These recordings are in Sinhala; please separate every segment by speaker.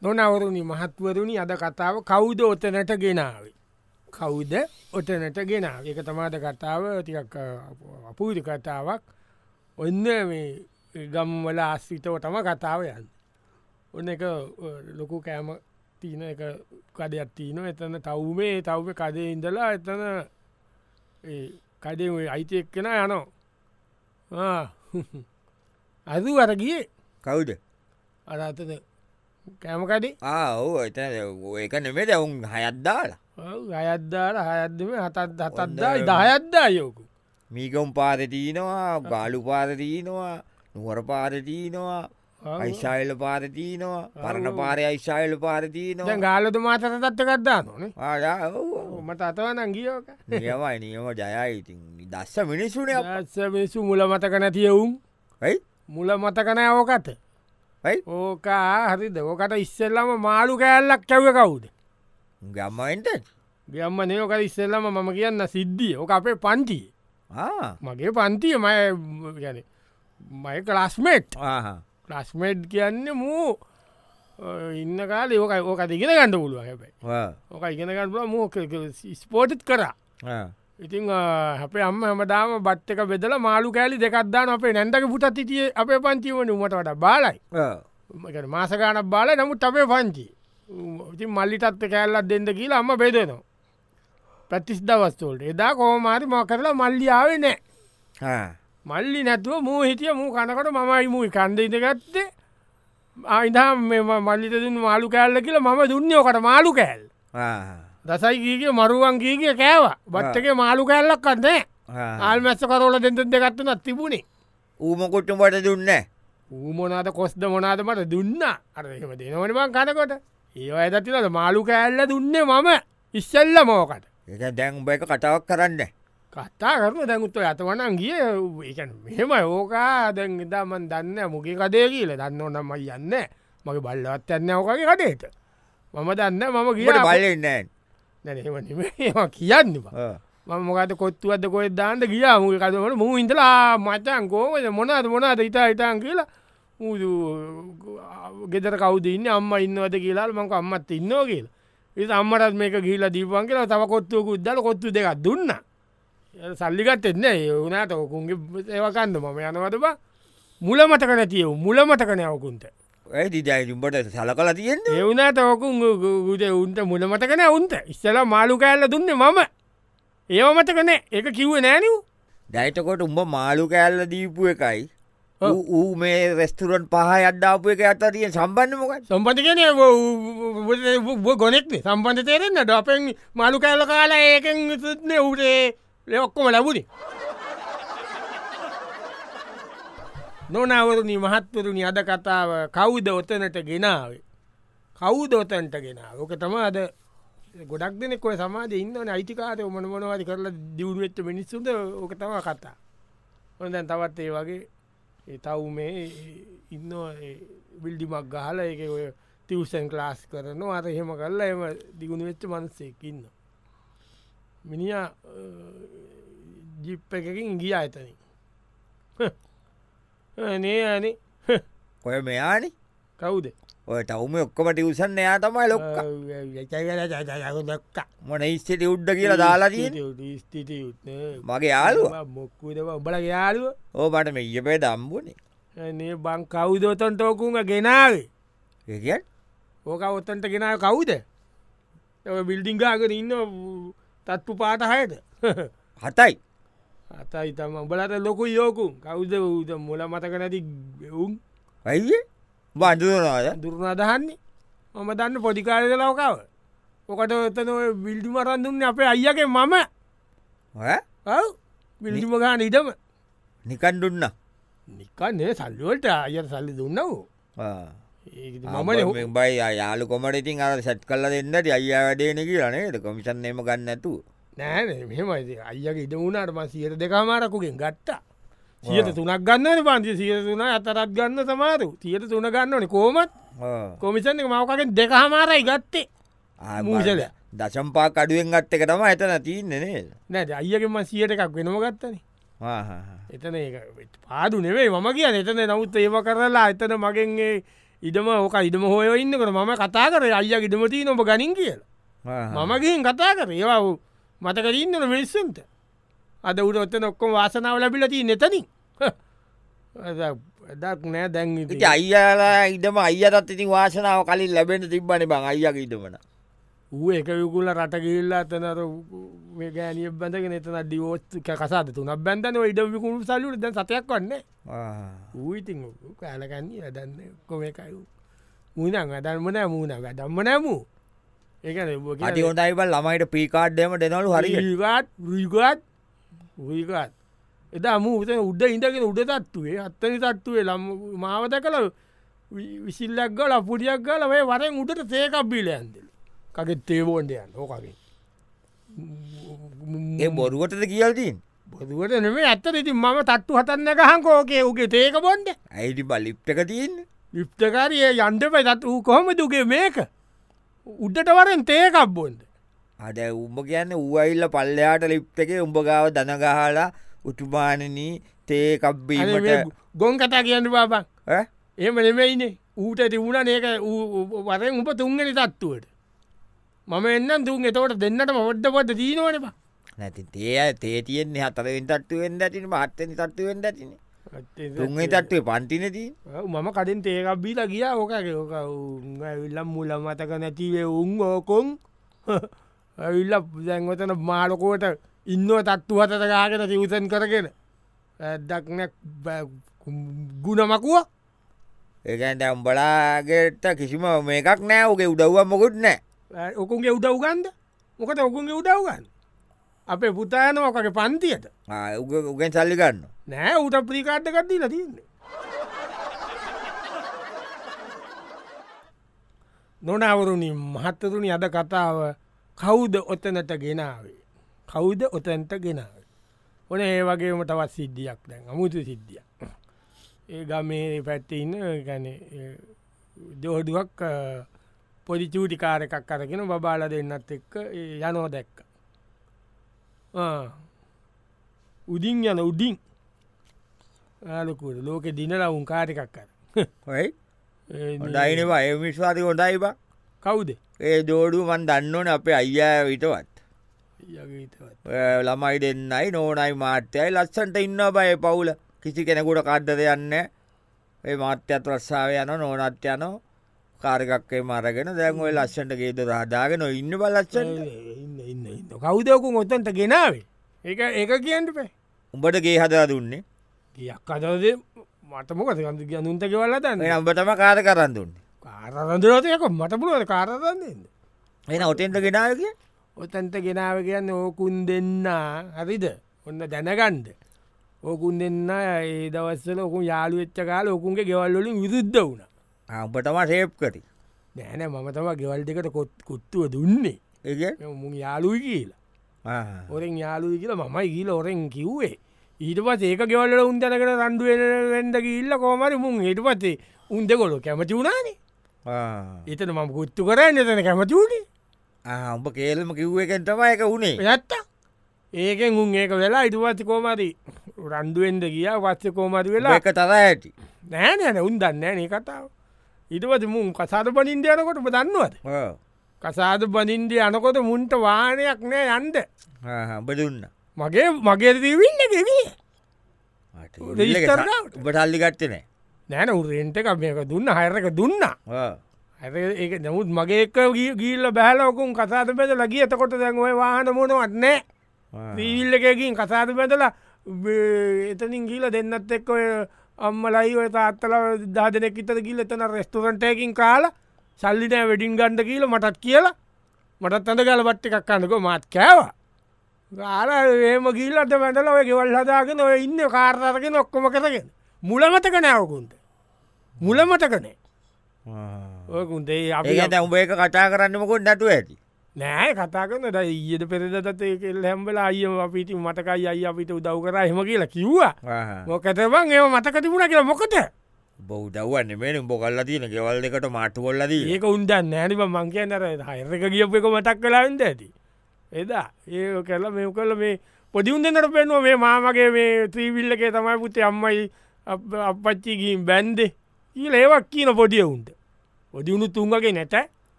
Speaker 1: නොනවරුණි මහත්වරුණි අද කතාව කෞුද ඔතනට ගෙනාවේ. කෞුද ඔතනට ගෙන එක තමාද කතාව තියක් අපූරි කතාවක් ඔන්න මේ ගම්වල ආස්විතව තම කතාව යන්න. ඔන්න එක අ, ලොකු කෑම තියන එක කඩයක් තියන එතන තව්මේ තව්ව කඩේ ඉඳලා එතන කඩේ අයිති එක්කෙන යනවා අදු අරගිය
Speaker 2: කවුද
Speaker 1: අරාතද කෑමකඩේ
Speaker 2: ආහෝ එත ඒක නෙමෙට ඔවුන් හයත්දාලා
Speaker 1: අයද්දාල හයදම හතත් හතත්දා
Speaker 2: ඔන්න-
Speaker 1: දහයද්දා යෝකු
Speaker 2: මීගම් පාරතිීනවා ගාලු පාරතිීනවා නුවර පාරතිීනවා අයිශායිල පාරතිීනවා පරණ පාරය අයිශායිල පාරතිීනවා
Speaker 1: ගාලත මාතර තත්වකත්දා නොන
Speaker 2: ආ
Speaker 1: මට අතවනන් ගියෝක
Speaker 2: නියමයි නියම ජයයිඉතින් දස්ස මිනිස්සුන
Speaker 1: ඇසමිසු මුල මතකන තියවුම්
Speaker 2: ඇයි
Speaker 1: මුල මතකන ඕකත
Speaker 2: ඇයි
Speaker 1: ඕකා හරි දෝකට ඉස්සෙල්ලම මාළු කෑල්ලක් කැව කවුද
Speaker 2: ගම්මයින්ට
Speaker 1: ගම්ම නයෝක ඉස්සෙල්ලම මම කියන්න සිද්ධිය ඕක අපේ පන්තිය මගේ පන්තිය මය ගැන මය කලස්මෙට් ක්ලස්මේට් කියන්න මූ අ, ඉන්න කාල ඕක ඕක ඉගෙන ගන්න පුළුව හැබයි ඕක ඉගෙනගන්නල මෝක ස්පෝටිත් කරා ඉතිං අපේ අම්ම හමදාම බට් එක බෙදල මාළු කෑලි දෙකක්දාන අපේ නැන්දක පුටත් හිටිය අපේ පංචිවන උමට වට බාලයි මකට මාසකානක් බාල නමුත් අපේ පංචි ඉති මල්ලිටත්ත කෑල්ලත් දෙන්න කියලා අම්ම බෙදනවා පැතිස් දවස්තෝල්ට එදා කෝමාරි ම කරලා මල්ලියාවේ නෑ මල්ලි නැතුව මූ හිටිය මූ කනකට මමයි මූයි කන්දයිද ගත්තේ අයිදා මල්ලිත දුන්න මාළු කෑල්ල කියලා මම දුන්නෝකට මාළු කෑල් දසයි ගීගේ මරුවන් ගීගේ කෑවා බත්තක මාළු කෑල්ලක් කන්නේ ආල්මැස්ස කරෝල දෙදද ගත්තනත් තිබුණේ
Speaker 2: ඌමකොට්ටුමට දුන්න
Speaker 1: ඌමොනාද කොස්ද මොනාද මට දුන්න අරම දෙනවනිවන් කනකොට ඒව ඇතිලද මාළු කෑල්ල දුන්නේ මම ඉස්සල්ල මෝකට
Speaker 2: එක දැන් බැක කතාවක් කරන්න
Speaker 1: කත්තා කරන දැකුත්ව ඇතවනන් ගිය ඒකන මෙම ඕකා දැන් ඉතාමන් දන්න මුගේ කදේ කියල දන්න නම්ම යන්න මගේ බල්ලවත් යන්න ඕකගේ කටේට මම දන්න මම කියට
Speaker 2: ට බලන්න
Speaker 1: නැනම කියන්න මම මොකට කොත්තුවද කොත් දාන්ට ගියා මුගේ කදවල මූ ඉඳලා මචන් කෝමද මොනාද මොනාද ඉතා ඉතාන් කියලා මුදු ගෙදර කවදන්න අම්ම ඉන්නවද කියලා මක අම්මත් ඉන්නෝ කියලා ඉ අම්මටත් මේක ගීල දීපන් කියලා තව කොත්තුවකු දල කොත්තු දෙක් දුන්න ඒ සල්ලිකත් එන්න ඒවුනාට ඔකුන්ගේ ඒවකන්න මම යනවතබ මුල මතකන තියව මුල මතකනයවකුන්ට
Speaker 2: ඇයි දිදයිුම්බට සල කල තියෙන්ද
Speaker 1: ඒවුනාට ඔකුන් ගුට උන්ට මුල මතකන උන්ට ඉස්සලා මාළු කෑල්ල දුන්න මම ඒව මතකනෑ ඒක කිව්ව නෑනිව්
Speaker 2: දැයිතකොට උඹ මාළු කෑල්ල දීපු එකයි
Speaker 1: ඔව්.
Speaker 2: ඌ- ඌ මේ රෙස්තුරන් පහ අඩ්ඩාපු එක අත තිය සම්බන්න මොකත්
Speaker 1: සම්පතිකන ගොනෙක්ේ සම්පන්ධ තේරෙන්න්නට අපෙන් මාළු කෑල්ල කාලා ඒකෙන් සුත්නය උටේ ලෙඔක්කොම ලැබුණේ නොනවරුණි මහත්වරුණි අද කතාව කෞුද ඔතනට ගෙනාවේ කෞුද ඔතන්ට ගෙනාව ඕක තම අද ගොඩක් දෙනෙකොය සමාජ ඉන්නවන අයිතිකාරය මන මොනවාද කරලා දියුණුවෙච්ච මිනිස්සුද ඕක තම කතා හොඳැන් තවත් ඒ වගේ ඒ තව් මේ ඉන්න බිල්ඩිමක් ගහල එක ඔය තිවසන් ක්ලාස් කරනවා අත එහෙම කරලා එම දිගුණ වෙච්ච මනස්සෙක් ඉන්න මිනිිය ජිප් එකකින් ගිය ඇතනින් නේ අනේ
Speaker 2: කොය මෙයානි
Speaker 1: කවුද
Speaker 2: ඔය ටවුම ඔක්කමට උසන්න එයා තමයි ලොක්
Speaker 1: ලොක්ක
Speaker 2: මොන ඉස්සට උඩ්ඩ කියලා දාලා තියෙන මගේ යාලුව
Speaker 1: මොක්කුද උබල යාලුව
Speaker 2: ඕ මට මෙය පේ දම්බුණේ
Speaker 1: නේ බං කෞුදෝතන් ටෝකුන්ග ගෙනාවේ
Speaker 2: ඒකත්
Speaker 1: ඕක ඔත්තන්ට ගෙනාව කවුද ඔය බිල්ඩිං ගාගෙන ඉන්න තත්තු පාටහයට
Speaker 2: හතයි
Speaker 1: අතයි තම උඹලට ලොකු යෝකුම් කවුද ූද මුල මතක නැති උම්
Speaker 2: ඇයි බඳුනාද
Speaker 1: දුරුණ අදහන්නේ මම දන්න පොඩිකාරද ලෝකාව ඕකට ඔත්තන ඔය බිල්ඩි මරන් දුන්න අපේ අයියගේ මම ඔව් බිල්ඩිම ගාන ඉටම
Speaker 2: නිකන් දුන්න
Speaker 1: නිකන්නේ සල්ලුවලට අයට සල්ලි දුන්න වූ ඒ මම
Speaker 2: මම බයි යාලු කොමට ඉතින් අර සැට් කල්ල දෙන්නට අයියා වැඩේන කියලනේද කොමිෂන් එම ගන්නඇතු
Speaker 1: නෑ මෙමයි අයක ඉඩ වුණට ම සියට දෙකාමාරකුගෙන් ගත්තා සියට තුනක් ගන්න පන්ති සියට තුන අතරත් ගන්න සමාරු සියට තුන ගන්නන කෝමත් කොමිසන් එක මවකෙන් දෙකහමාරයි ගත්තේ මූසල.
Speaker 2: දශම්පා කඩුවෙන් ගත්ත එක තම ඇතන තියන්න නේද
Speaker 1: නැ අයකෙන්ම සියට එකක් වෙනම ගත්තන එතන ඒ පාඩු නෙවේ මම කිය එතන නමුත් ඒව කරලා එතන මගෙන්ගේ ඉඩම ඕක ඉඩම හෝය ඉන්නකට මම කතා කර අයිය ඉඩමතිී නොබ ගනින් කියලා මම ගිහින් කතා කර ඒවා මතකර ඉන්නන මිනිස්සුන්ට අද උරොත්ත නොක්කොම වාසනාව ලැබිලති නෙතනින් දක් නෑ දැන්
Speaker 2: ඉති අයියාලා ඉඩම අයියතත් ඉතින් වාසනාව කලින් ලැබෙන තිබ්බනි බං අයියක ඉඩමන
Speaker 1: ඌ එක යුකුල රටකිල්ල අතනර ගෑනිය බැඳගෙන එතන ඩිවෝස් කසාද තුනක් බැඳන ඉඩමිකුණු සල්ලුට දැන් සතයක් වන්නේ ඌඉතින් කෑලකන්නේ වැඩන්න කොමකයු මුනං අදන්මන මූුණ වැඩම්ම නෑමූ
Speaker 2: ඒ ොටයිබල් ළමයිට පිකාඩ්ඩම දෙනලු හරි
Speaker 1: ගත් රීගත් රීගත් එදා මූත උඩ ඉඳගෙන උඩ තත්තුවේ අත්තනි තත්තුවේ ලම් මාවත කළ විසිල්ලක් ගල පුඩියක් ගල වේ වරෙන් උඩට සේකක් බිලයන්දල කගේ තේවෝන්ඩයන් ඕකගේ
Speaker 2: ඒ බොරුවටද කියල්තින්
Speaker 1: බොදුවට නෙේ ඇත්ත ඉතින් මම තත්තු හතන්න ගහන්කෝකේ උගේ තේක බොන්ඩ
Speaker 2: ඇයිඩි බලිප්ටක තියන්න
Speaker 1: ලිප්ටකාරය යන්ඩපයි තත් වූ කොහොම දුගේ මේක උඩට වරෙන් තේකක් බොන්ද
Speaker 2: අඩ උඹ කියන්න ඌඇල්ල පල්ලයාට ලිප්ට එක උඹ ගාව දනගහලා උටුමානනී තේකබ්බීමට
Speaker 1: ගොන් කතා කියන්න බාබන් එම නෙමයිනේ ඌට තිබුණ ඒක වරෙන් උප තුන්ගෙන තත්තුවට මම එන්නම් තුන් එතවට දෙන්නට මොඩ්ඩ පොඩ දීනවනවා
Speaker 2: නැති තේ තේ තියෙන්නේ හතරෙන් තත්ත්තුවෙන් ඇතින මත්තනි තත්ත්තුවෙන් ඇතින තුන්ගේ තත්ත්වේ පන්තිනති
Speaker 1: මම කඩින් තේකක්්බීලා ගිය ඕකක ඇවිල්ලම් මුල මතක නැතිවේ උන් ඕකොන් ඇවිල්ල දැන්වතන මාලකෝට ඉන්නව තත්තු හතට ගාගෙන තිවසන් කරගෙන දක්නැක් ගුණමකුව
Speaker 2: ඒකන්ට උඹලාගේට කිසිම මේකක් නෑ ඕගේ උදව්ව මොකුත්
Speaker 1: නෑ ඔකුන්ගේ උදව්ගන්ද මොකට ඔකුන්ගේ උදව්ගන්න අපේ පුතායන ඕකගේ පන්තියට
Speaker 2: උගෙන් සල්ලි ගන්න
Speaker 1: නෑ ඌට ප්‍රිකාට්ටකක්දී ලතින්න නොනවරුණි මහත්තතුනි අද කතාව කවුද ඔතනට ගෙනාවේ කවුද ඔතැන්ට ගෙනාවේ ඕන ඒ වගේම තවත් සිද්ධියක් දැන් අමුතු සිද්ධිය ඒ ගමේ පැත්තඉන්න ගැන දෝඩුවක් පොඩි චූටිකාරකක් කරගෙන බබාල දෙන්නත් එක්ක යනෝ දැක්ක උදින් යන උඩින් ආලකුට ලෝකෙ දිනලා උන් කාරිකක් කර
Speaker 2: හොයි ඩයිනවා ඒ විශ්වාති හොඩයිබ
Speaker 1: කවුද
Speaker 2: ඒ දෝඩු මන් දන්නවන අපේ අයියා විටවත් ළමයි දෙන්නයි නෝනයි මාත්‍යයයි ලස්සන්ට ඉන්න බය පවුල කිසි කෙනෙකුට කඩ්ඩ දෙයන්න ඒ මාත්‍යත් රස්සාාව යන නෝනත් යන කාරිකක්කේ මරගෙන දැන්ඔය ලස්සන්ට ගේද රහදාගෙන ඉන්න බලච්ච
Speaker 1: කෞදයකු ඔොත්තන්ට ගෙනාවේ ඒ ඒක කියන්නට පේ
Speaker 2: උඹට ගේ හදා දුන්නේ
Speaker 1: ගියක් අදද මටමොකද ගඳ කිය නුන්ත ගෙවල්ලදන්න
Speaker 2: උඹටම කාර කරන්න දුන්න
Speaker 1: කාරරදරතයක මට පුළුවද කාරදන්නද
Speaker 2: එන ඔටෙන්ට ගෙනාව කිය
Speaker 1: ඔතන්ට ගෙනාව කියන්න ඕකුන් දෙන්න හරිද ඔන්න දැනගන්ඩ ඕකුන් දෙන්න ඒ දවස්සල ඔකු යාළු වෙච්ච කාල ඔකුන්ගේ ගෙවල්ලින් විරුද්ධ වුණ
Speaker 2: උඹටම සේප් කටි
Speaker 1: නෑන මමතම ගෙවල් දෙකට කොත් කුත්තුව දුන්නේ
Speaker 2: ඒ
Speaker 1: මු යාලුයි කියලා ඔරෙන් යාලුයි කියලා මමයි ගීල ඔරෙන් කිව්වේ ඊට පත් ඒක ගෙවල්ල උන් දැනකට රන්ඩු වෙන්ඩ ඉල්ල කෝමරි මුන් හිට පත්තේ උන් දෙකොලො කැමති වුණානේ එතන මම ගුත්තු කරන්න එතන කැමති වුණේ
Speaker 2: උඹ කේල්ම කිව්වකෙන්ටම එක වුණේ
Speaker 1: නැත්ත ඒකෙන් උන් ඒක වෙලා ඉටුවත්ති කෝමරි රන්ඩුවෙන්ද ගිය වස්්‍ය කෝමරි වෙලා
Speaker 2: එක තර ඇති
Speaker 1: නෑ නෑන උන් දන්න නේ කතාව ඉටපති මුන් කසාද පනින්ද යනකොට දන්නවද කසාද බනින්ද යනකොට මුන්ට වානයක් නෑ යන්ඩ
Speaker 2: බදුන්න
Speaker 1: මගේ මගේ දීවින්න ගෙවී රෙජිස්ටර්
Speaker 2: උබටල්ලි ගත්තනේ
Speaker 1: නෑන උරෙන්ට එක මේක දුන්න හයරක දුන්න ඒ නමුත් මගේක ගීල්ල බෑලෝකුම් කසාත පැදල ගිය එතකොට දැන්ුවේ වාහන මොනවත් නෑ දීල්ල එකකින් කසාත පැදලා එතනින් ගීල දෙන්නත් එක්ක ඔය අම්මලයි ඔය තාත්තල දාදනෙක් ඉතර ගිල්ල එතන රෙස්ටරන්ටයකින් කාල සල්ලිනෑ වැඩින් ගණ්ඩ කියීල මටත් කියලා මටත් අඳ ගල පට්ටි එකක් කන්නක මාත් කෑවා ගාල ඒම ගිල්ලට වැඳල ඔය ගෙවල් හදාගෙන ඔය ඉන්න කාර්තරගෙන ඔක්කොම කරගෙන මුලමතක නෑවකුන්ට මුලමතකනේ ඔකුන්ට
Speaker 2: ඒට උඹේ කතා කරන්නමකොට නැතුව ඇති
Speaker 1: නෑ කතා කරන ද ඊයට පෙරදතත් කෙල් හැම්බල අයම අපිට මතකයි අයි අපිට උදව් කර හෙම කියලා කිව්වා මොකතබන් ඒ මතක තිබුණ කියලා මොකට
Speaker 2: බෞද්ධවන්න මේ උඹ කල්ලා තියෙන ගෙවල් එකට මාටුවල්ලදී
Speaker 1: ඒක උන්දන්න ඇනිම මංකය නර හයරක ගියප එක මතක් කලාවෙන්ද ඇති එදා ඒ කරලා මෙ කල මේ පොදිවුන් දෙන්නට පෙන්ව මේ මාමගේ මේ ත්‍රීවිල්ලකේ තමයි පුතේ අම්මයි අපච්චිගින් බැන්දේ කියල ඒවක් කියන පොඩිය උන්ට පොඩිවුණු තුන්ගේ නැත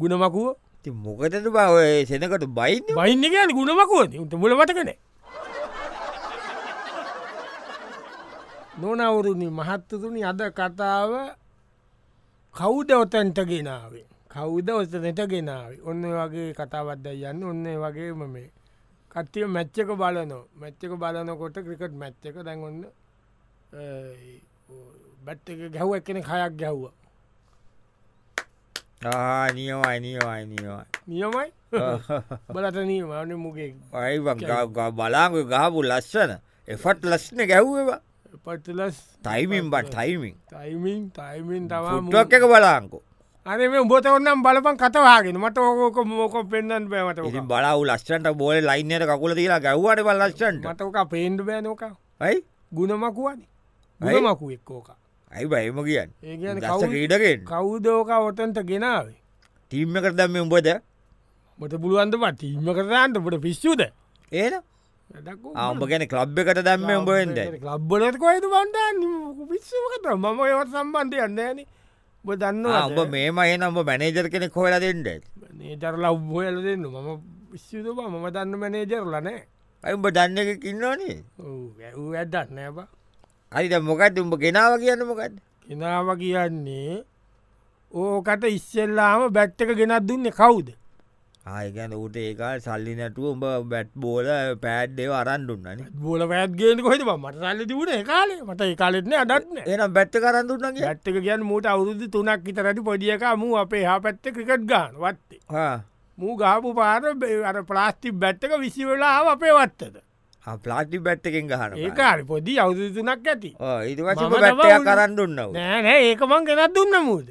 Speaker 1: ගුණමකුව
Speaker 2: ති මොකතට බව සෙනකට බයින්න
Speaker 1: බයින්න කියන ගුණමකුවද උට මුලවට කන නොනවුරුණි මහත්තතුනි අද කතාව කෞුද ඔතැන්ට ගෙනාවේ කෞුද ඔස්තනට ගෙනාවේ ඔන්න වගේ කතාවත්ද යන්න ඔන්න වගේම මේ කට්ටිය මැච්චක බලනෝ මැච්චක බලනකොට ක්‍රිකට් මැච්චක දැන්ගන්න බැට් එක ගැහුව එකන කයක් ගැහ්ව
Speaker 2: නියවයි නියවයි නියවයි
Speaker 1: නියමයි බලට නීමන මුගේ
Speaker 2: අයි බලාග ගාපු ලස්සන එෆට් ලස්න ගැව්වා
Speaker 1: පටලස්
Speaker 2: තයිමින් බට තයිමින්
Speaker 1: තයිමින් තයිමින් තවා
Speaker 2: ටක් එක බලාංකෝ
Speaker 1: අනේ මේ උඹත ඔන්නම් බලපන් කතවාගෙන මට ඕකෝක මෝක පෙන්න්න බෑමට ඕක.
Speaker 2: ඉති බලාව ලස්ටන්ට බෝල ලයින්නයට කකුල තිලා ගැව්වට බල ලස්ටන්ට
Speaker 1: මට ඕක පේන්ඩ බෑ නෝක
Speaker 2: යි
Speaker 1: ගුණමකුවන
Speaker 2: ඇයි?
Speaker 1: ගුණමකු එක්කෝක
Speaker 2: ඇයි බයම කියන්න
Speaker 1: ඒ කියන
Speaker 2: ලස්ස ක්‍රීඩකෙන්
Speaker 1: කෞුදෝක ඔතන්ට ගෙනාවේ
Speaker 2: ටීම්ම කරදම උඹද
Speaker 1: මට පුළුවන්ද පට ඉම කරන්නට පට පිස්සුද
Speaker 2: ඒන ආම්ඹ ගැන කලබ් එකට දැම්ම උඹෙන්ද
Speaker 1: ලබ්බලට කොයිතු බන්ඩ පිස්සමකට මම ඒවත් සම්බන්ධය යන්නන බ
Speaker 2: උඹ
Speaker 1: දන්නවා
Speaker 2: මේම එන උඹ මැනේජර් කෙනෙ කොහල දෙෙන්ට
Speaker 1: නේජරලා උබ්බහල දෙන්න මම විශ්්‍යුත බ මම දන්න මැනේජරලනෑ
Speaker 2: ඇඋඹ දන්න එක කින්නවානේ
Speaker 1: ඇව් ඇඩත් නෑබ
Speaker 2: අරිද මොකත් උඹ ගෙනාව කියන්න මොකත්
Speaker 1: කෙනාව කියන්නේ ඕකට ඉස්සෙල්ලාම බැට් එක ගෙනත් දුන්නේ කවුද
Speaker 2: ආයකැන ඌට ඒකාල් සල්ලි නැටුව උඹ බැට් බෝල පෑඩ්ඩේව අරන්ඩුන්නන
Speaker 1: බෝල පැත්ගේෙන කොහෙද බ මට සල්ල තිබුණ කාලේ මට ඒ කාලෙත්න අඩත්න
Speaker 2: ඒනම් බැට්ට කරන්දුන්න කිය
Speaker 1: ඇත්තක කියන්න මූට අවුරුදු තුනක් ඉතරට පොඩියක මූ අපේ හා පැත්ත ක්‍රිකට් ගාන වත්තේ මූ ගාපු පාර බේ- අර ප්ලාස්ටි බැට්ටක විසි වෙලා අපේ වත්තද
Speaker 2: පලාටි බැට්ටකෙන් ගහන
Speaker 1: ඒකාර පොඩි අවුදුතුනක් ඇති
Speaker 2: ඉති වශ
Speaker 1: මම
Speaker 2: බැට්ටය
Speaker 1: දවල්-
Speaker 2: කරන්නුන්නව
Speaker 1: නෑනෑ ඒක මං ගෙනත් දුන්න මූද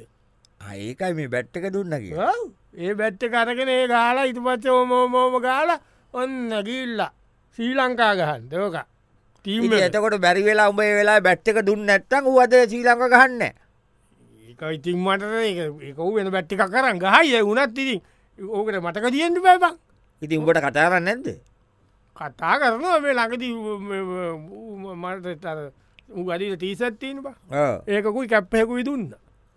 Speaker 2: ඒකයි මේ බැට්ටක දුන්න කිය
Speaker 1: ඔව්. ඒ බැට්ට කරගෙන ඒ ගාලා ඉතු පච්ච ෝමෝමෝම ගාල ඔන්න ගිල්ල ශ්‍රී ලංකා ගහන් දෝක ටීම්
Speaker 2: එතකොට බැරි වෙලා උඹේ වෙලා බැට්ටක දුන්න නැත්තං වද සීලංක ගහන්න
Speaker 1: ඒකයිඉතින් මට එකව වෙන බැට්ටික කරන්න ගහයි වුනත් ඉතින් ඕකට මටක දියෙන්ට පැපක්
Speaker 2: ඉති උඹට කතාරන්න ඇද
Speaker 1: කතා කරනවා මේ ලඟති මට උගඩට තීසත්තිීන බා ඒකුයි කැප්පයකුයි දුන්න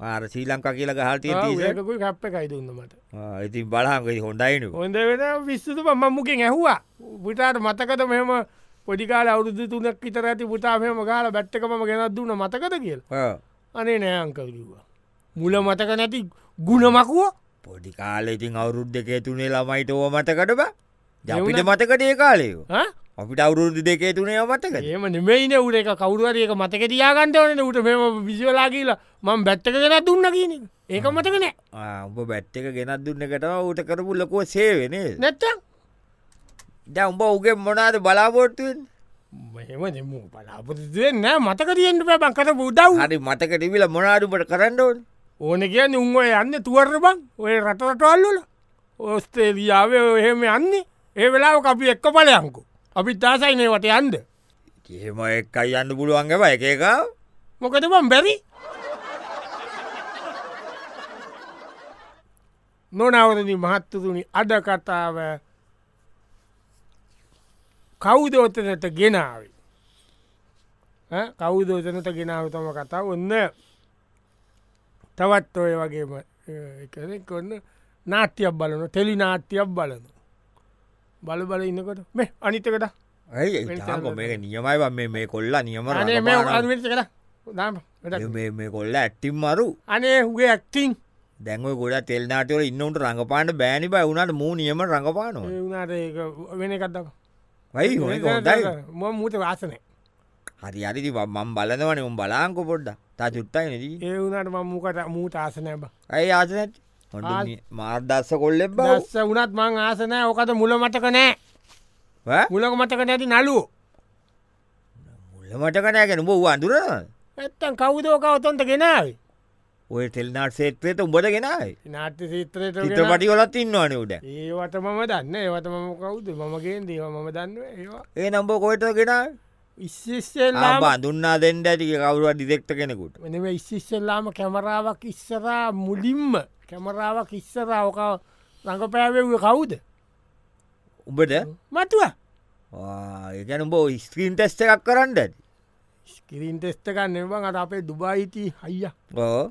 Speaker 2: ආර සීලංකා කියලා ගහල්තිය
Speaker 1: ඒකුයි කැප්ප එකයි දුන්න මට
Speaker 2: ඉතින් බලාගයි හොඳයිනු
Speaker 1: හොඳ වෙන විස්සතු මම්මුකෙන් ඇහවා පුටාට මතකත මෙම පොඩිකාල අවුරුදු තුනක් ඉතර ඇති පුතාාමම ගාල බැට්ටකම ගෙනත් දුන්න මතකත කියල අනේ නෑංකකිවා. මුල මතක නැති ගුණමකුව
Speaker 2: පොඩි කාල ඉතින් අවුරුද් දෙකේ තුනේ ළමයිට ඕ මතකටබ ජපිට
Speaker 1: එවුන-
Speaker 2: මතකට ඒ කාලයෝ
Speaker 1: ඈ?
Speaker 2: අපිට අවුරුදු දෙකේ තුනේ මතකට
Speaker 1: ඒම නෙමයින උට එක කවරුවරයක මතක තියාගන්ටවන උට මෙම විසිවලා කියලා මං බැට්ටක ගෙනත් දුන්න කියන එක. ඒක මතක නෑ
Speaker 2: උඹ බැට් එක ගෙනත් දුන්න එකට ඌට කරපු ලොකෝ සේවෙන
Speaker 1: නැත්ත
Speaker 2: ද උඹ උගේ මොනාද බලාපොට්තුෙන්
Speaker 1: මෙම දෙම පලාපතිදන්න මතක තියෙන්ට පැබංකට පුදව්
Speaker 2: හරි මතකටවිල මොනාඩුමට කරන්නඩෝන්
Speaker 1: ඕන කියන්න උන්ව යන්න තුවර බං ඔය රටරටවල්ලල ඔස්තේලියාවේ ඔහෙම යන්නේ ඒ වෙලාව අපි එක්ක පලයංකු අපි තාසයිනේවට යන්ද
Speaker 2: එහෙම එක්කයි යන්න පුළුවන්ගම එකක
Speaker 1: මොකද බම් බැරි නොනවරදි මහත්තතුනි අද කතාව කෞදෝතනට ගෙනාවේ කෞදෝතනට ගෙනාව තම කතා ඔන්න තවත් ඔය වගේම එකනෙක් ඔන්න නාට්‍යයක් බලන ටෙලි නාට්‍යයක් බලන බල බල ඉන්නකොට මේ අනිතකට
Speaker 2: ඇයිකො මේ නියමයි මේ මේ කොල්ලා නියම
Speaker 1: අනේ මේ අනිවිච කලා දාම වැඩක්.
Speaker 2: මේ කොල්ල ඇට්ටිම් මරු
Speaker 1: අනේ හුගේ ඇක්ටිං
Speaker 2: දැන්ව ගොඩ තෙල්නාටවල ඉන්නට රඟපාන්න බෑනි බයි වුණට මූ නියම රඟපානවා
Speaker 1: වනාට ඒක වෙන කත්දක්
Speaker 2: වයි හොයි
Speaker 1: ම මූත වාසනය
Speaker 2: හරි අරිදි මම් බලනවන උම් බලාංකො පොඩ්ඩ තා චුත්තයි නදී
Speaker 1: ඒ වුණට ම මූකට මූට ආසනය බ
Speaker 2: ඇයි ආසනැත් හොඳ මාර්දස්ස කොල්ල එබ
Speaker 1: දස්ස වනත් මං ආසනය ඕකත මුල මටක නෑ මුලක මටක නැති නලු
Speaker 2: මුල්ල මටකනෑගෙන බෝ අඳුර
Speaker 1: ඇත්තන් කවුදෝක ඔතොන්ට ගෙනාවේ
Speaker 2: ඔය තෙල්නාට සේත්‍රයට උඹට ගෙනයි
Speaker 1: නාට්‍ය සිත්‍රයට
Speaker 2: චිත්‍රපටි කොලත් ඉන්නවාන උඩ
Speaker 1: ඒවට මම දන්න ඒවට මම කවුද මමගේ දීව මම දන්න ඒවා
Speaker 2: ඒ නම්බෝ කොයිට ගෙන
Speaker 1: ඉස්සිස්සෙල්ලාම
Speaker 2: දුන්නා දෙන්ඩ ඇති කවරුව ඩිදෙක්ට කෙනෙකුට
Speaker 1: මෙම ඉස්සිස්සෙල්ලාම කැමරාවක් ඉස්සරා මුලින්ම කැමරාවක් ඉස්සරා ඕක රඟපෑවව කවුද
Speaker 2: උඹට
Speaker 1: මතුවා
Speaker 2: ඒකන බෝ ස්ක්‍රීන් ටෙස්ට එකක් කරන්න ඇති
Speaker 1: ස්කරින් ටෙස්ට ගන්න එබන් අට අපේ දුබායිති හයිය
Speaker 2: ඕ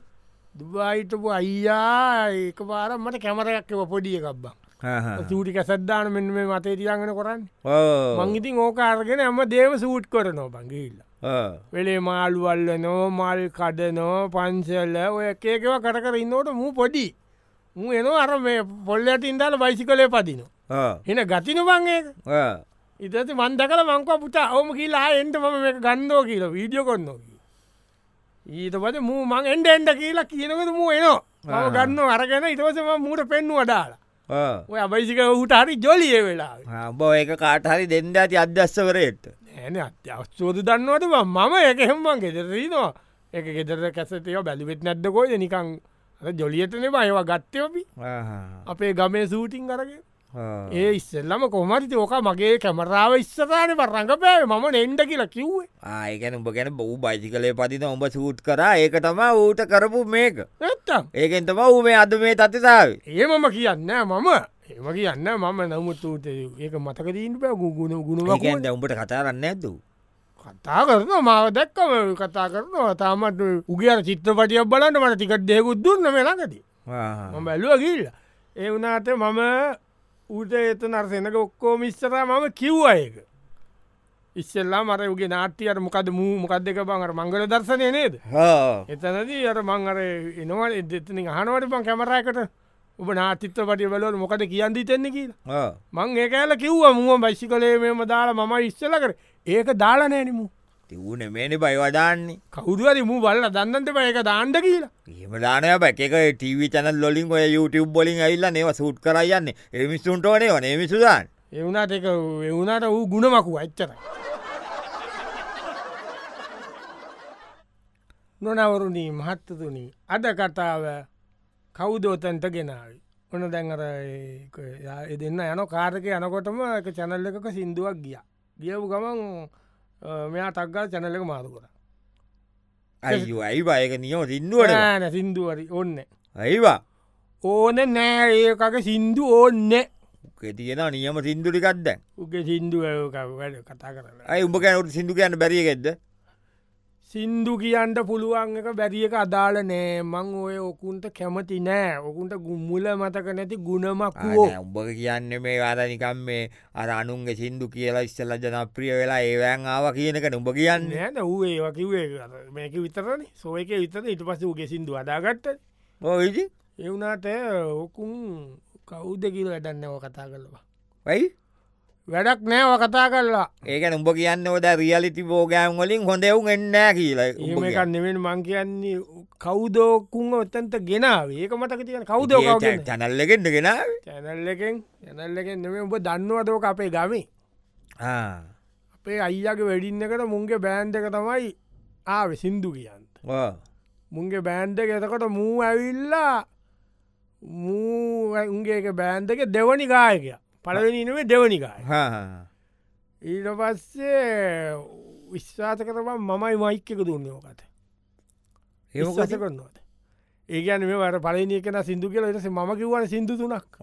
Speaker 1: දුබාහිටපු අයියා ඒක පාර මට කැමරයක්ව පොඩිය එකක්බා සූටි කැසද්දාන මෙන්න මේ මතේ තිරගෙන කොරන්න
Speaker 2: ඕ
Speaker 1: මංගිතින් ඕකාරගෙන ඇම දේව සූට් කරනෝ බංගිල්ල වෙලේ මාළුවල්ල නෝ මල් කඩනෝ පන්සල්ල ඔය එකේකව කරකර ඉන්නවට මූ පොඩි මූ එන අර මේ පොල්ල ඇතින්දාල බයිසි කලේ පදින එන ගතින බංඒක ඉතති මන්දකල මංකව පුතා ඕම කියලා එන්ට මම මේ ගන්දෝ කියල වීඩියෝ කොන්න ඊට පද මූ මං එන්ඩ එන්ඩ කියලා කියනකද මූ එනවා මම ගන්න අරගෙන ඉටවසම මූට පෙන්නුව ඩාලා ඔය අබයිසික හුට හරි ජොලිය වෙලා
Speaker 2: බෝ ඒක කාටහරි දෙන්න ඇති අධ්‍යස්සවරයට
Speaker 1: නෑන අත්‍යවස්තෝද දන්නවද බං? මම එක හෙම්මන් ගෙදරීනවා එක ගෙදර කැසටය බැලිවෙත් නැද්දකෝද නිකං අර ජොලියටන බයවා ගත්තයපි අපේ ගමේ සූටිං කරග ඒ ඉස්සල්ලම කොමරිති ඕක මගේ කැමරාව ඉස්සරාන පරඟපෑ මම නෙන්ඩ කියලා කිව්වේ
Speaker 2: ආයකැන උඹ ගැන බව් බයිසි කලේ පතින උඹ සූට් කරා ඒක තමා ඌට කරපු මේක
Speaker 1: නැත්තම්
Speaker 2: ඒකෙන්තම ඌ මේ අද මේ තතිසාාව
Speaker 1: ඒ මම කියන්න මම ඒම කියන්න මම නමුත් ඌට ඒක මතකදීන්ට පැ ගුණ ගුණුවක්
Speaker 2: ඒකන්ද උඹට කතාරන්න ඇතු
Speaker 1: කතා කරන මාව දැක්කම කතා කරනවා තාමත් උගේ අර චිත්‍රපටියක් බලන්න මට ටිකට දෙකුත් දුන්න වෙනකති මම බැලුව ගිල්ල ඒ වනාට මම ඌට ඒත නර්සෙනක ඔක්කෝ මිස්සර මම කිව්වයක ඉස්සල්ලා මර උගේ නාට්‍යයට මොකද මූ මොකක් දෙක බංර මංගල දර්ශනය නේද එතනදී අර මං අර එනවල එදෙතන හනුවට පං කැමරයකට ඔබ නාතිත්‍රපටිය බලවට මොකද කියන්දී තෙන්නේ කියලා මං ඒකඇල කිව්ව මුව බයිසි කලේ මෙම දාලා මම ඉස්සල කර ඒක දාලනෑනමු
Speaker 2: තිවුණ මේන බයිවඩාන්නේ
Speaker 1: කවුරුවරි මූ බල්ල දන්නන්ට පයක දාන්ඩ කියලා
Speaker 2: ඒම දානය බැක ටව චනල් ලොලින් ඔය YouTube බොලින් ඇල්ල ඒව සූට් කරයන්නේ එමිස්සුන්ටෝනේ වනේ මිසුදාන්
Speaker 1: එවුණට එක එවුණට වූ ගුණමකු අච්චර නොනවරුණී මහත්තතුනි අද කතාව කෞදෝතන්ට ගෙනාව ඔන දැන්ර දෙන්න යන කාරක යනකොටම එක චැනල්ල එකක සිින්දුවක් ගිය ගියපු ගමන් අ, මෙයා තක්ගල් චැනල්ල එක මාරු කර
Speaker 2: අයි අයි බයක නියෝ සිින්දුවට
Speaker 1: නෑන සිින්දුවරි ඔන්න
Speaker 2: ඇයිවා
Speaker 1: ඕන නෑ ඒකක සිින්දු ඕන්න
Speaker 2: කෙතියෙන නියම සිින්දුරිකක්ද
Speaker 1: උගේ සිින්දුව වැඩ කතා කරලා
Speaker 2: ඇයි උඹ කැනට සිින්දු කියන්න බැරිගෙද
Speaker 1: සින්දු කියන්ට පුළුවන් එක බැරිිය එක අදාල නෑ මං ඔය ඔකුන්ට කැමති නෑ ඔකුන්ට ගුම්මුල මතක නැති ගුණමක්ෝ
Speaker 2: උඹ කියන්න මේ වාදනිකම් මේ අර අනුන්ගේ සිින්දු කියලා ඉස්සල්ල ජනප්‍රිය වෙලා ඒවෑන් ආව කියනක නුඹ කියන්න
Speaker 1: නෑන වූ ඒකිවේ මේක විතරන සෝයක විතර ඉට පස උගේ සිින්දු අදාගත්ත
Speaker 2: ඕවිසි
Speaker 1: එවුණට ඔකුන් කවුද කියල වැඩන්නව කතා කරලවා
Speaker 2: වයි
Speaker 1: වැඩක් නෑව කතා කරලා
Speaker 2: ඒක උඹ කියන්න ෝද රියලිති බෝගෑම් වලින් හොඳෙවුම් එන්න කියලා උඹ
Speaker 1: ඒමකක් නෙවෙන් මං කියන්නේ කෞදෝකුන් ඔත්තන්ට ගෙනාව ඒක මතක තියෙන කෞද
Speaker 2: කියන්නේ. ඒ චැ- චැනල් එකෙන්ට ගෙන
Speaker 1: චැනල් එකෙන් යැනල් එකෙන් නෙවේ උඹ දන්නවදෝක අපේ ගමේ අපේ අයියගේ වැඩින්නකට මුන්ගේ බෑන්්ඩ එක තමයි ආව සින්දු කියන්ට මුන්ගේ බෑන්්ඩ එක එතකොට මූ ඇවිල්ලා මූඋන්ගේ බෑන්්ඩ එක දෙවනි ගායකය පලවෙනිනේ දෙවනිකාය ඊට පස්සේ විශ්වාත කරම මමයි මයික්කක දුන්නෝකත ඒකස කරන්නවද ඒකන මේට පලනි කෙන සිදු කියල ස ම කිවන සිදු තුනක්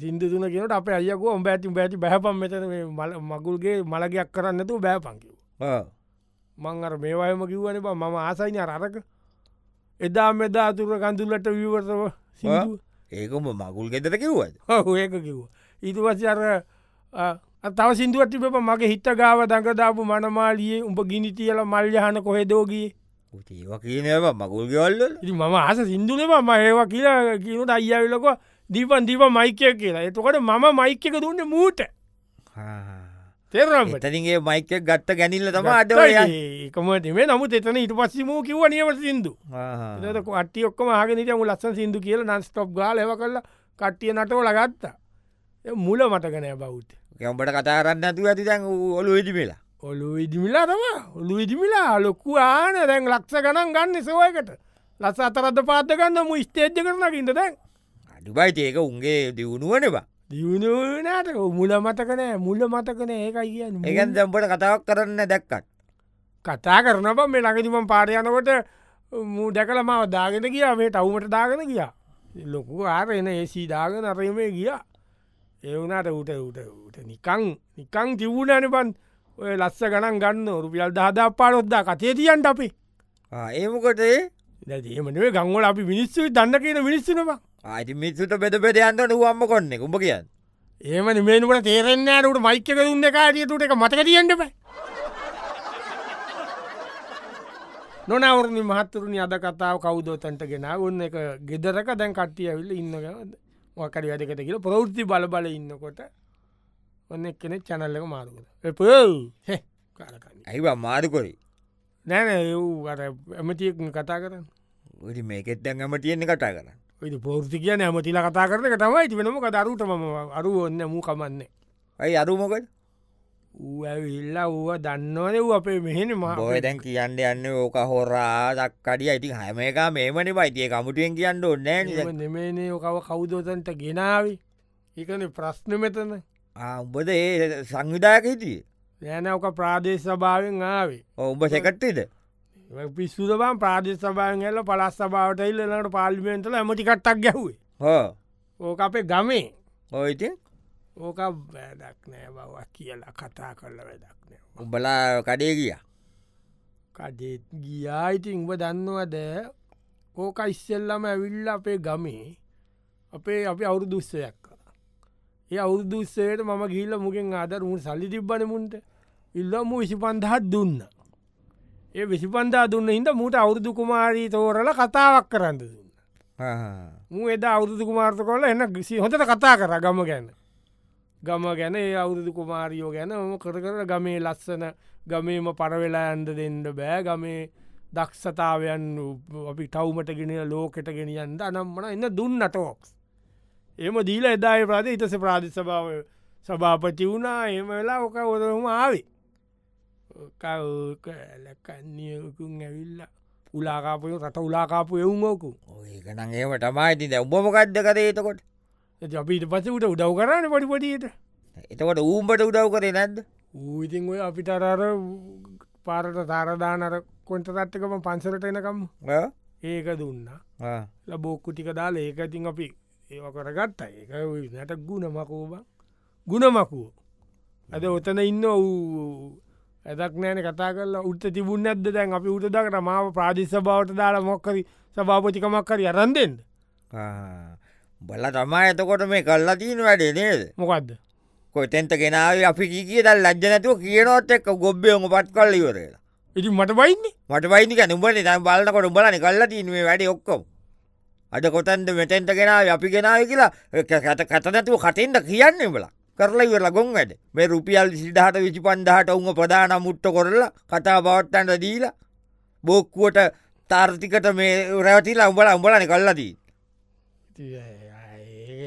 Speaker 1: සිින්දු තුන කියෙනට අප අයකුව ඔඹ ඇති බැති බැහපම් මෙතන මේ මල- මගුල්ගේ මලගයක් කරන්නතු බෑපංකිව මං අර මේවායම කිව්වන බ මම ආසයින අරක එදා මෙදා අතුර කඳුල්ලට විවර්තව සිදු
Speaker 2: ඒකම මගුල් ගෙදර කිව්වද
Speaker 1: ඒක කිව්ව ඉතුවස අර අ, අ, තව සිින්දුවටි බ මගේ හිත ගාව දඟදාපු මනමාලියේ උඹ ගිනිතියල මල්්‍යහන කොහෙදෝගී
Speaker 2: ඒව කියනව මගුල් ගෙවල්ල
Speaker 1: ඉති මම ආස සිින්දුලම ම ඒවා කියලා කියනට අයිඇවිලක දීපන් දීප මයිකය කියලා එතකොට මම මයික්‍යක දුන්න මූට තෙරම්
Speaker 2: එතනින්ගේ මයික ගත්ත ගැනිල්ල තම අද
Speaker 1: එකමටේ නමුත් එතන ඉට පස්සම කිව නියම සිින්දු කට්ටි ඔක්කම ආගෙනට මු ලස්සන් සිින්දු කියල නන් ස්ටොප් ගාල එව කල්ල කට්ටිය නටෝ ලගත්ත මුල මටකනෑ බෞද්ධ
Speaker 2: ගැම්බට කතාරන්න ඇතු ඇති දැන් ඔලු වෙටිමේලා
Speaker 1: ඔලු ඉදිමිලා තම ඔලු ඉදිමිලා ලොක්කු ආන දැන් ලක්ෂ ගණන් ගන්න සෝයකට ලස්ස අතරද පාත්තගන්න මු ස්තේජ්ජ කරනකින්ට දැන්
Speaker 2: අඩුබයි ඒක උන්ගේ දියුණුවනවා
Speaker 1: දියුණනාට මුල මතකනෑ මුල මතකන ඒකයි කියන්න
Speaker 2: ඒකන් දැම්බට කතාවක් කරන්න දැක්කත්
Speaker 1: කතා කරන බ මේ ලඟතිමම් පාරයනකොට මූ දැකල මාව දාගෙන කියා මේ ටවුමට දාගෙන කියා ලොකු ආර එන ඒසී දාගෙන අරීමේ ගිය ඒවුනාට උට උට උට නිකං නිකං තිවුණන පන් ඔය ලස්ස ගණන් ගන්න රුපියල් දහදා පාරොද්දා කතේ තියන්ට අපි
Speaker 2: ඒමකටේ
Speaker 1: දැදීමනේ ගංවල අපි මිනිස්සු දන්න කියන මිනිස්සුනවා
Speaker 2: ආති මිස්සුට බෙද පෙද අන්තන වම්ම කොන්නේ උඹ කියන්න
Speaker 1: ඒම නිමේනුට තේරෙන්නෑට මයික්ක දුන්න කාටියතුට එක මතක තියන්ට බයි නොනවරණ මහත්තුරුණ අද කතාව කවුදෝතන්ට ගෙන ඔන්න එක ගෙදරක දැන් කට්ටිය ඇවිල්ල ඉන්නකද මොකරි වැඩකට කියල ප්‍රෞෘති බලබල ඉන්නකොට ඔන්න කෙනෙ චැනල්ලක මාරුකට ප කාලකන්න
Speaker 2: ඇයිවා මාරුකොරේ
Speaker 1: නෑන ඒවර ඇමතිය කතා කරන්න
Speaker 2: ඩි මේකෙත් දැන් ඇම තියෙන්නේ කටා කරන්න
Speaker 1: ඔයි පෘති කියන ඇමතිල කතා කරන තමයි ති වෙනම දරුට ම අරු ඔන්න මූ කමන්නේ
Speaker 2: ඇයි අරුමකට
Speaker 1: ඇවිල්ලා ඌව දන්නවන වූ අපේ මෙහෙන
Speaker 2: ඔය දැන් කියන්න යන්න ඕක හොරා දක්කඩිය අයිති හැම එක මේමන පයිතිය කමුටුවෙන් කියන්න ඔන්න
Speaker 1: නෙමේනේ ඕකව කෞදෝතන්ට ගෙනාවේ ඒකන ප්‍රශ්න මෙතන
Speaker 2: උඹද ඒ සංවිධායක හිටිය
Speaker 1: යෑනවක ප්‍රාදේශ සභාවෙන් ආවේ
Speaker 2: ඔඹ සැකට්ටේද
Speaker 1: පිස්සුදබන් ප්‍රාදේශ සභාන් ඇල්ල පලස් සභාවට ඉල්ලනට පාලිමෙන්ටල ඇමටිකට්ටක් ගැහුවේ
Speaker 2: හෝ
Speaker 1: ඕක අපේ ගමේ
Speaker 2: ඔයිති
Speaker 1: ඕක වැදක් නෑ බව කියලා කතා කරල වැඩක් නෑ
Speaker 2: උඹලා කඩේ ගිය
Speaker 1: කඩෙත් ගියායිති උඹ දන්නවද ඕක ඉස්සෙල්ලම ඇවිල්ල අපේ ගමේ අපේ අපි අවුරු දුස්සයක් කර ඒ අවුරු දුස්සයට මම ගිල්ල මුගෙන් ආදර මුන් සල්ලි තිබ්බන මුන්ට ඉල්ලම විසි පන්දහත් දුන්න ඒ විසි පන්දා දුන්න හිද මුට අවුරුදු කුමාරී තෝරල කතාවක් කරන්න දුන්න මු එදා අවුරුදු කුමාර්ත කොල එන්න ගිසි හොඳට කතා කර ගම ගැන්න ගම ගැන ඒ අවුරුදු කුමාරියෝ ගැන ම කර කර ගමේ ලස්සන ගමේම පරවෙලා ඇන්ද දෙන්න බෑ ගමේ දක්ෂතාවයන් අපි ටවමට ගෙන ලෝකෙට ගෙනියන්ද අනම්මන එන්න දුන්න ටෝක්ස් එම දීල එදාය ප්‍රාද ඉතස ප්‍රාධි සභාව සභාපති වුණා එම වෙලා ඕක ඔොදම ආවේ කවකලකන්නකුන් ඇවිල්ල උලාකාපය රට උලාකාපු එවුමෝකු
Speaker 2: ඒකනං ඒම ටමයිති දැ උබමකක්ද කරේතකොට
Speaker 1: අපිට පස උට උදව් කරන්න පඩිපටියට
Speaker 2: එතකොට ඌම්බට උදව් කරේ නැද්ද
Speaker 1: ඌඉතින් ඔය අපිට අරර පාරට තාරදානර කොන්ට තත්තකම පන්සලට එනකම් ඒක දුන්නා ලබෝක්කු ටික දාල ඒක ඉතින් අපි ඒව කරගත්තා ඒක නැට ගුණ මකෝබ ගුණ මකුව ඇද ඔතන ඉන්න වූ ඇදක් නෑන කතා කල උත්ත තිබුණ ඇද දැන් අපි උටදකට මාව ප්‍රාධිස්ස බවට දාලා මොක්කරි සභාපතිකමක්කරි අරන්දෙන්ට
Speaker 2: බල තමා එතකොට මේ කල්ලා තියෙන වැඩේ නේද
Speaker 1: මොකක්ද
Speaker 2: කොතෙන්ට ගෙනාව අපි කිය දල් ලජ්ජ නැතුව කියනොත් එක් ගොබ්බයම පත් කල්ල ඉවරලා
Speaker 1: ඉති මට පයින්නේ
Speaker 2: මට පයිනික නුබල තම් බලන්නකොට බලන කල්ලා තිනේ වැඩ ඔක්කොම අද කොතන්ද මෙතැන්ට ගෙනාව අපි ගෙනාව කියලා කැත කත නැතුව කටෙන්ට කියන්න බලා කරලා ඉවරලා ගොන් ඇද මේ රුපියල් සිදහට විචි පන්දහට උන් ප්‍රධාන මුට්ට කොරලා කතා බවත්තන්ට දීලා බෝක්කුවට තාර්ථිකට මේ රැවතිලා උඹල උඹලන කල්ලදී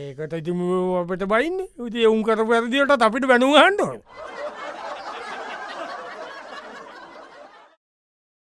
Speaker 1: ඒකට ඉතිම අපට බයින්න උතිය උන්කර පැරදිට අපිට බැනුහන්ටෝ